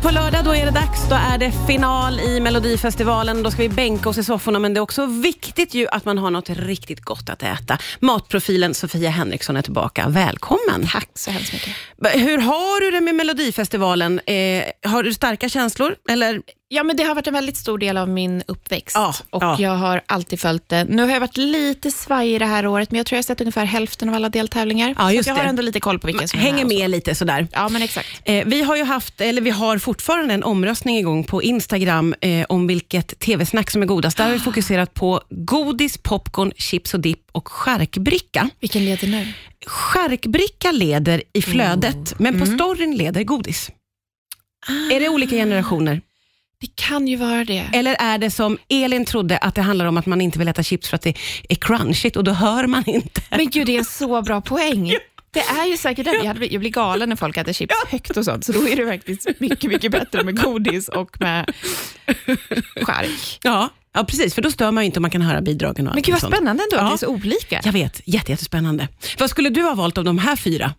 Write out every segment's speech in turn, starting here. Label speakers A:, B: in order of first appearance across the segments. A: på lördag då är det dags. Då är det final i Melodifestivalen. Då ska vi bänka oss i sofforna, men det är också viktigt ju att man har något riktigt gott att äta. Matprofilen Sofia Henriksson är tillbaka. Välkommen.
B: Tack så hemskt mycket.
A: B- Hur har du det med Melodifestivalen? Eh, har du starka känslor? Eller
B: Ja, men det har varit en väldigt stor del av min uppväxt
A: Ja,
B: och
A: ja.
B: jag har alltid följt det. Nu har jag varit lite svajig det här året, men jag tror jag har sett ungefär hälften av alla deltävlingar.
A: Ja, just
B: så att jag
A: det.
B: har ändå lite koll på vilka som är
A: hänger
B: och så.
A: med lite sådär?
B: Ja, men exakt.
A: Eh, vi har ju haft, eller vi har fortfarande en omröstning igång på Instagram eh, om vilket tv-snack som är godast. Där har vi fokuserat på godis, popcorn, chips och dipp och charkbricka.
B: Vilken leder nu?
A: Charkbricka leder i
B: Mm.
A: flödet, men på storyn leder godis. Är det
B: Ah.
A: olika generationer?
B: Det kan ju vara det.
A: Eller är det som Elin trodde, att det handlar om att man inte vill äta chips för att det är crunchigt och då hör man inte?
B: Men gud, det är en så bra poäng. Det är ju säkert det. Jag, hade, blivit- jag blir galen när folk äter chips högt och sånt, så då är det faktiskt mycket, mycket bättre med godis och med chark.
A: Ja, ja precis, för då stör man ju inte om man kan höra bidragen och
B: Men
A: allt
B: gud, vad
A: sånt.
B: spännande ändå att
A: Ja.
B: det är så olika.
A: Jag vet, jätte, jättespännande. Vad skulle du ha valt av de här fyra?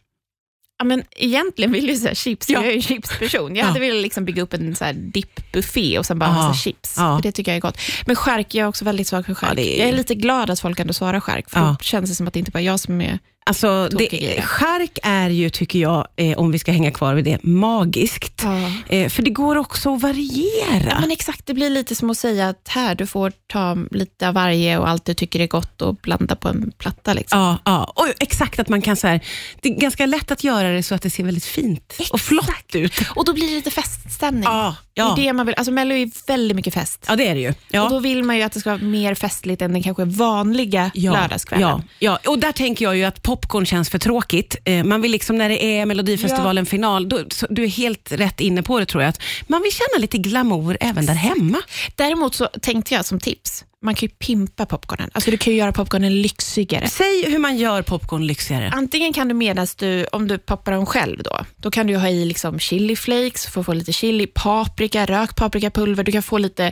B: Ja, men egentligen vill jag ju säga chips,
A: Ja.
B: jag är ju chipsperson. Jag
A: Ja.
B: hade velat liksom bygga upp en så här dippbuffé och sen bara ha
A: Ja.
B: massa chips.
A: Ja.
B: För det tycker jag är gott. Men skärk, jag är också väldigt svag för skärk.
A: Ja, det är-
B: Jag är lite glad att folk ändå svarar skärk, för
A: Ja.
B: då känns det som att det inte bara är jag som är...
A: Alltså,
B: Tokig
A: det,
B: grej.
A: skärk är ju, tycker jag, eh, om vi ska hänga kvar vid det, magiskt.
B: Ja.
A: Eh, för det går också att variera.
B: Men exakt, det blir lite som att säga att här, du får ta lite av varje och allt du tycker är gott och blanda på en platta. Liksom.
A: Ja, ja. Och exakt att man kan så här, det är ganska lätt att göra det så att det ser väldigt fint och flott ut.
B: Och då blir det lite feststämning.
A: Ja, ja.
B: Det är det man vill. Alltså Mello är väldigt mycket fest.
A: ja, det är det ju.
B: Och då
A: Ja.
B: vill man ju att det ska vara mer festligt än den kanske vanliga
A: Ja,
B: lördagskvällen.
A: ja, ja, och där tänker jag ju att popcorn känns för tråkigt. Eh, Man vill liksom när det är Melodifestivalen-final, då, så, du är helt rätt inne på det tror jag, att man vill känna lite glamour även där hemma.
B: Däremot så tänkte jag som tips, man kan ju pimpa popcornen. Alltså du kan ju göra popcornen lyxigare.
A: Säg hur man gör popcorn lyxigare.
B: Antingen kan du medan du, om du poppar dem själv då, då kan du ju ha i liksom chili flakes, för att få lite chili, paprika, rökt paprikapulver, du kan få lite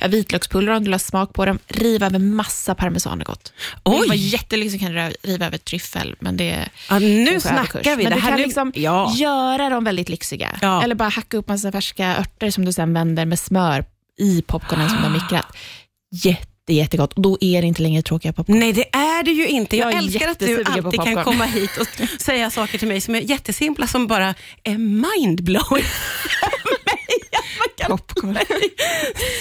B: ja, vitlökspulver om du vill ha smak på dem, riva över massa parmesan är gott. Vill du vara
A: Oj!
B: jättelyxig kan du rö- riva över tryffel, men det är
A: Ja, nu
B: kanske överkurs.
A: snackar vi.
B: Men
A: det
B: du
A: här
B: kan
A: nu-
B: liksom
A: ja.
B: göra dem väldigt lyxiga.
A: Ja.
B: Eller bara hacka upp massa färska örter som du sen vänder med smör i popcornen som du har mikrat. Jätte, jättegott. Och då är det inte längre tråkiga popcorn.
A: Nej, det är det ju inte. Jag,
B: Jag är
A: älskar att du
B: jättesugen på
A: alltid kan
B: popcorn.
A: komma hit och säga saker till mig som är jättesimpla, som bara är mindblowing.
B: Popcorn.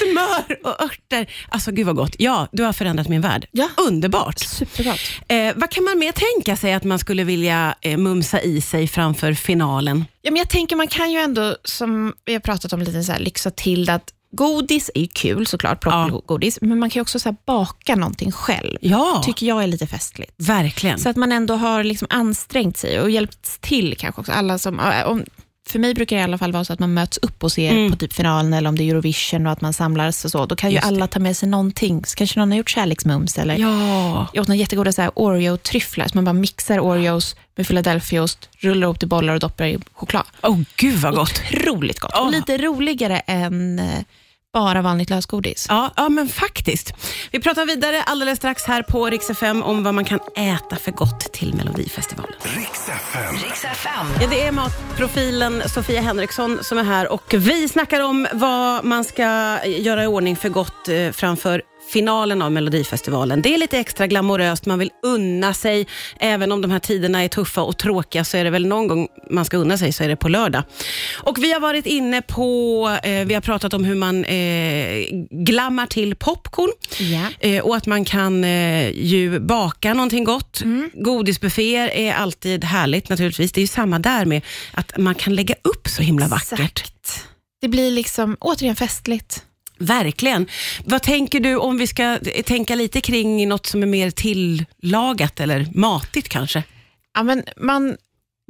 A: Smör och örter. Alltså, gud vad gott. Ja, du har förändrat min värld.
B: Ja.
A: Underbart.
B: Supergott.
A: Eh, vad kan man mer tänka sig att man skulle vilja eh, mumsa i sig framför finalen?
B: Ja, men jag tänker man kan ju ändå, som vi har pratat om lite, så här, lyxa till det att godis är ju kul såklart, popcorngodis, men man kan ju också så här, baka någonting själv.
A: Ja,
B: Tycker jag är lite festligt.
A: verkligen.
B: Så att man ändå har liksom ansträngt sig och hjälpt till kanske också. Alla som, ja, om, för mig brukar det i alla fall vara så att man möts upp och ser på typ finalen eller om det är Eurovision och att man samlas och så. Då kan ju
A: Mm. Just det.
B: alla ta med sig någonting. Så kanske någon har gjort kärleksmums eller
A: Ja.
B: jag åt några jättegoda så här Oreo-tryfflar, så man bara mixar Oreos med Philadelphiaost, rullar upp till bollar och doppar i choklad.
A: Åh, gud vad gott.
B: Otroligt gott.
A: Ja.
B: Och lite roligare än eh, bara vanligt lösgodis.
A: Ja, ja, men faktiskt. Vi pratar vidare alldeles strax här på Rix FM om vad man kan äta för gott till Melodifestivalen.
C: Riks FM.
D: Riks FM.
A: Ja, det är matprofilen Sofia Henriksson som är här och vi snackar om vad man ska göra i ordning för gott eh, framför finalen av Melodifestivalen. Det är lite extra glamoröst, man vill unna sig. Även om de här tiderna är tuffa och tråkiga så är det väl någon gång man ska unna sig, så är det på lördag. Och vi har varit inne på, eh, vi har pratat om hur man eh, glammar till popcorn.
B: Ja.
A: Eh, och att man kan eh, ju baka någonting gott.
B: Mm.
A: Godisbufféer är alltid härligt naturligtvis. Det är ju samma där med att man kan lägga upp så himla vackert.
B: Exakt. Det blir liksom återigen festligt.
A: Verkligen. Vad tänker du om vi ska eh, tänka lite kring något som är mer tillagat eller matigt kanske?
B: Ja, men man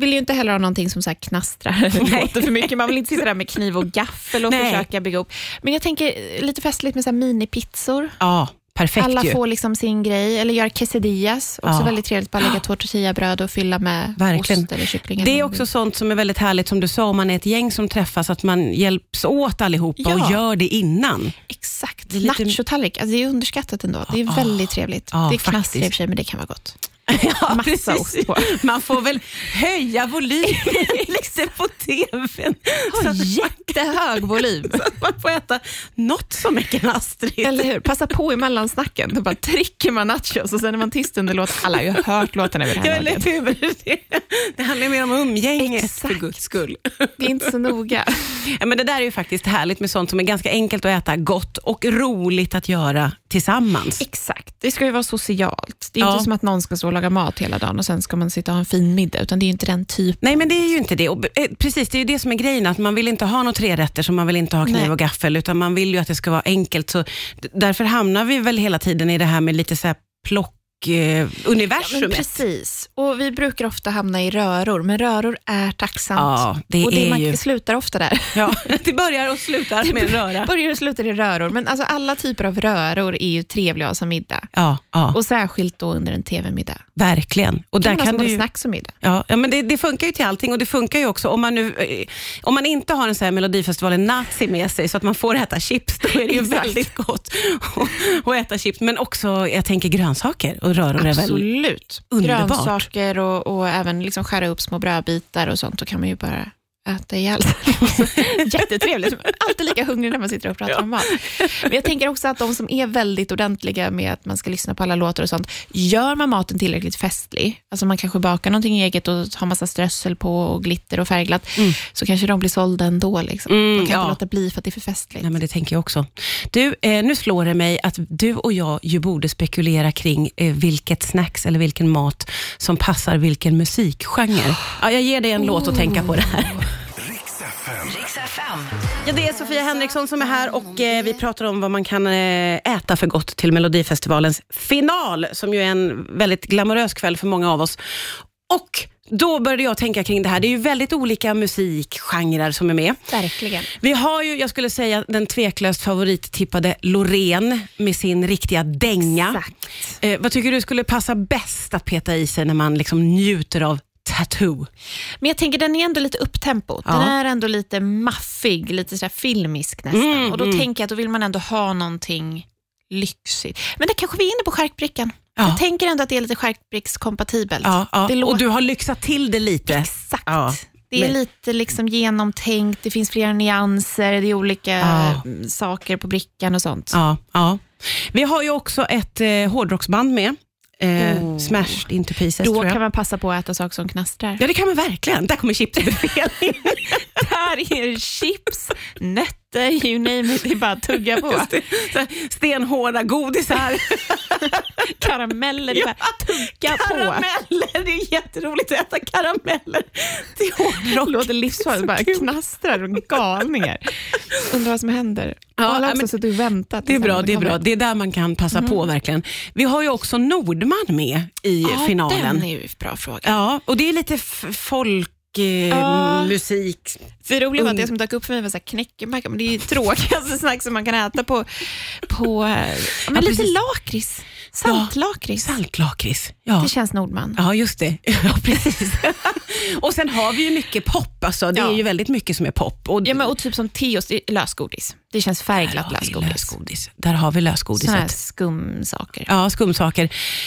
B: vill ju inte heller ha någonting som så här knastrar eller låter för mycket. Man vill inte sitta där med kniv och gaffel och
A: Nej.
B: försöka bygga upp. Men jag tänker eh, lite festligt med så här minipizzor.
A: Ja, perfekt
B: Alla
A: ju.
B: får liksom sin grej, eller göra quesadillas. Också
A: Ja.
B: väldigt trevligt, bara lägga tortillabröd och fylla med
A: Verkligen.
B: ost eller kyckling. eller
A: Det är
B: vad man
A: också sånt som är väldigt härligt, som du sa, om man är ett gäng som träffas, att man hjälps åt allihopa och
B: Ja.
A: gör det innan.
B: vill. Exakt,
A: är lite-
B: nachotallrik. Alltså det är underskattat ändå. Det är väldigt trevligt.
A: Ja,
B: det är knastrar i och
A: faktiskt.
B: för sig, men det kan vara gott.
A: Ja,
B: Massa
A: precis.
B: ost på.
A: Man får väl höja volymen lite på TVn. Så
B: Ha
A: att,
B: jättehög volym.
A: så att man får äta något så mycket än Astrid.
B: Eller hur? Passa på i mellansnacken. Då bara trycker man nachos och sen är man tyst under låten. Alla har ju hört låten över det
A: Ja,
B: här
A: eller
B: laget.
A: hur? Det- Det handlar mer om umgänget
B: Exakt.
A: för guds skull.
B: Det är inte så noga.
A: Ja, men det där är ju faktiskt härligt med sånt som är ganska enkelt att äta, gott och roligt att göra tillsammans.
B: Exakt. Det ska ju vara socialt. Det är
A: Ja.
B: inte som att någon ska stå och laga mat hela dagen och sen ska man sitta och ha en fin middag, utan det är ju inte den typen.
A: Nej, men det är ju inte det. Och, eh, precis, det är ju det som är grejen, att man vill inte ha några trerätter som man vill inte ha kniv
B: Nej.
A: och gaffel, utan man vill ju att det ska vara enkelt. Så d- därför hamnar vi väl hela tiden i det här med lite så här plock eh,
B: Men
A: universumet.
B: precis. Och vi brukar ofta hamna i röror, men röror är tacksamt.
A: Ja, det
B: och det
A: är
B: man
A: ju-
B: slutar ofta där.
A: Ja, det börjar och slutar med röra.
B: Börjar och slutar i röror, men alltså alla typer av röror är ju trevliga att ha som middag.
A: Ja, ja
B: Och särskilt då under en tv-middag.
A: verkligen. Och där
B: Där
A: kan
B: kan
A: du
B: ha
A: ju...
B: snacks och middag.
A: Ja, ja men det, det funkar ju till allting och det funkar ju också om man, nu, eh, om man inte har en sån här Melodifestivalen-nazi med sig så att man får äta chips, då är det ju
B: Exakt.
A: väldigt gott att- att äta chips. Men också, jag tänker grönsaker och röror är väl...
B: Absolut.
A: underbart.
B: Grönsaker och, och även liksom skära upp små brödbitar och sånt, då kan man ju bara äta ihjäl sig. Jättetrevligt. Man är Alltid lika hungrig när man sitter och pratar om mat. Men jag tänker också att de som är väldigt ordentliga med att man ska lyssna på alla låtar och sånt, gör man maten tillräckligt festlig, alltså man kanske bakar någonting eget och har massa strössel på och glitter och färgglatt, så kanske de blir sålda ändå. Liksom.
A: Mm,
B: man kan
A: ja.
B: inte låta bli för att det är för festligt.
A: Nej, men det tänker jag också. Du, eh, nu slår det mig att du och jag ju borde spekulera kring eh, vilket snacks eller vilken mat som passar vilken musikgenre. Ja, jag ger dig en låt att tänka på det här.
C: Riks FM.
A: Ja, det är Sofia Henriksson som är här och eh, vi pratar om vad man kan eh, äta för gott till Melodifestivalens final, som ju är en väldigt glamorös kväll för många av oss. Och då började jag tänka kring det här. Det är ju väldigt olika musikgenrer som är med.
B: Verkligen.
A: Vi har ju, jag skulle säga, den tveklöst favorittippade Loreen med sin riktiga dänga.
B: Exakt.
A: Eh, vad tycker du skulle passa bäst att peta i sig när man liksom njuter av tattoo?
B: Men jag tänker den är ändå lite upptempo. Den
A: Ja.
B: är ändå lite maffig, lite sådär filmisk nästan.
A: Mm,
B: och då
A: mm.
B: tänker jag att då vill man ändå ha någonting lyxigt. Men där kanske vi är inne på charkbrickan.
A: Ja.
B: Jag tänker ändå att det är lite charkbrickskompatibelt.
A: Ja, ja.
B: Det låter
A: Och du har lyxat till det lite.
B: exakt.
A: Ja.
B: Det är
A: Men-
B: lite liksom genomtänkt, det finns flera nyanser, det är olika
A: Ja.
B: mm, saker på brickan och sånt.
A: Ja, ja. Vi har ju också ett eh, hårdrocksband med. Eh,
B: Oh.
A: Smashed into pieces
B: Då
A: tror jag.
B: kan man passa på att äta saker som knastrar.
A: Ja, det kan man verkligen. Där kommer chipsbuffén in.
B: Där är chips, nötter, you name it. Det är bara att tugga på.
A: Just det. Så här, Stenhårda godisar,
B: Karameller, det är bara att tugga på.
A: karameller. Det är jätteroligt att äta karameller till hårdrock.
B: låter livsfarligt. Bara knastrar och galningar. Undrar vad som händer.
A: Ja, ja,
B: Alla har
A: men-
B: också suttit och väntat.
A: Det är bra,
B: liksom. Mm.
A: det är bra. Det är där man kan passa på verkligen. Vi har ju också Nordman med i
B: Ja,
A: finalen.
B: den är ju en bra fråga.
A: Ja, och det är lite f- folk... Eh,
B: Ja.
A: musik.
B: Det roliga var att
A: Mm.
B: det som dök upp för mig var så här knäckemacka, men det är ju tråkigaste snack som man kan äta på, på eh, men
A: Ja,
B: lite
A: precis.
B: lakrits. Saltlakrits.
A: Saltlakrits. Ja.
B: Det känns Nordman.
A: Ja, just det. Ja, precis. och sen har vi ju mycket pop. Alltså. Det
B: Ja.
A: är ju väldigt mycket som är pop. Och
B: Ja, men, och typ som Teos, det är lösgodis. Det känns
A: där
B: färgglatt
A: har vi
B: lösgodis.
A: lösgodis. Där har vi lösgodiset.
B: Sådana här skumsaker.
A: Ja, skumsaker.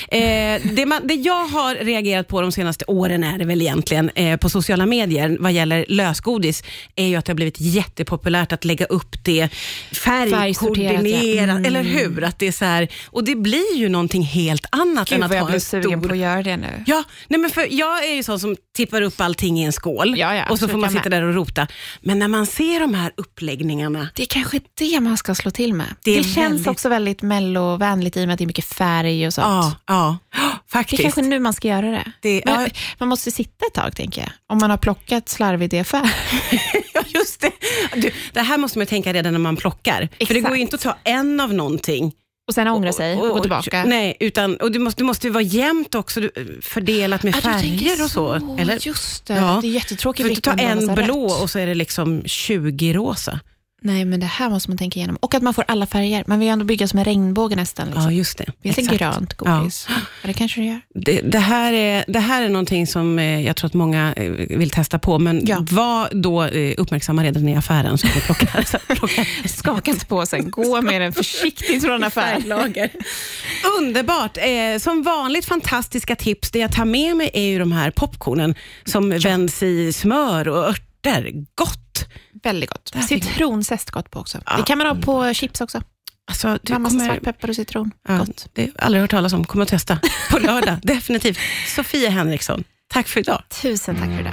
A: Eh, det, man, det jag har reagerat på de senaste åren är det väl egentligen eh, på sociala medier vad gäller lösgodis är ju att det har blivit jättepopulärt att lägga upp det
B: Färgsorterat,
A: färgkoordinerat,
B: ja. Mm.
A: eller hur? Att det är så här, och det blir ju någonting helt annat
B: Gud
A: än att
B: vad jag
A: ha
B: blev
A: en
B: sugen
A: stor
B: på att göra det nu.
A: Ja, nej men för jag är ju sån som tippar upp allting i en skål
B: Ja, ja,
A: och så
B: absolut,
A: får man
B: jag
A: sitta
B: med.
A: där och rota. Men när man ser de här uppläggningarna,
B: Det är kanske det man ska slå till med.
A: Det
B: Det,
A: är
B: känns
A: väldigt-
B: också väldigt mellovänligt i och med att det är mycket färg och sånt.
A: ja, ja,
B: det är
A: faktiskt.
B: kanske nu man ska göra det.
A: Det-
B: Men,
A: ja.
B: Man måste sitta ett tag, tänker jag. Om man har plockat slarvig DFR.
A: Ja, just det. Du, det här måste man ju tänka redan när man plockar. För det
B: Exakt.
A: går ju inte att ta en av någonting.
B: Och sen ångra sig och, gå tillbaka.
A: Nej, utan, och det måste, det måste ju vara jämnt också, du- fördelat med
B: Ja, du
A: färger
B: tänker
A: och så. Eller?
B: Just det.
A: Ja.
B: Det är jättetråkigt.
A: För du tar
B: riktigt när
A: en
B: man har så
A: blå
B: rött.
A: och så är det liksom 20 rosa.
B: Nej, men det här måste man tänka igenom. Och att man får alla färger. Man vill ju ändå bygga som en regnbåge nästan. Liksom.
A: Ja, just det.
B: Finns det
A: Exakt.
B: grönt godis? Ja. det kanske det gör.
A: Det, det, här är, det här är någonting som eh, jag tror att många eh, vill testa på, men
B: Ja.
A: var då eh, uppmärksamma redan i affären. Så vi plockar, så plockar
B: Skaka inte på sen. Gå med den försiktigt från affären.
A: färglager. Underbart! Eh, som vanligt fantastiska tips. Det jag tar med mig är ju de här popcornen som vänds i smör och örter. Gott!
B: Väldigt gott.
A: här fick-
B: Citronzest gott på också. Det kan man ha på chips också.
A: Alltså, du
B: Mammas
A: kommer-
B: svartpeppar och citron.
A: Ja,
B: Gott.
A: Det har jag aldrig hört talas om. Kommer att testa på lördag, definitivt. Sofia Henriksson, tack för idag.
B: Tusen tack för det.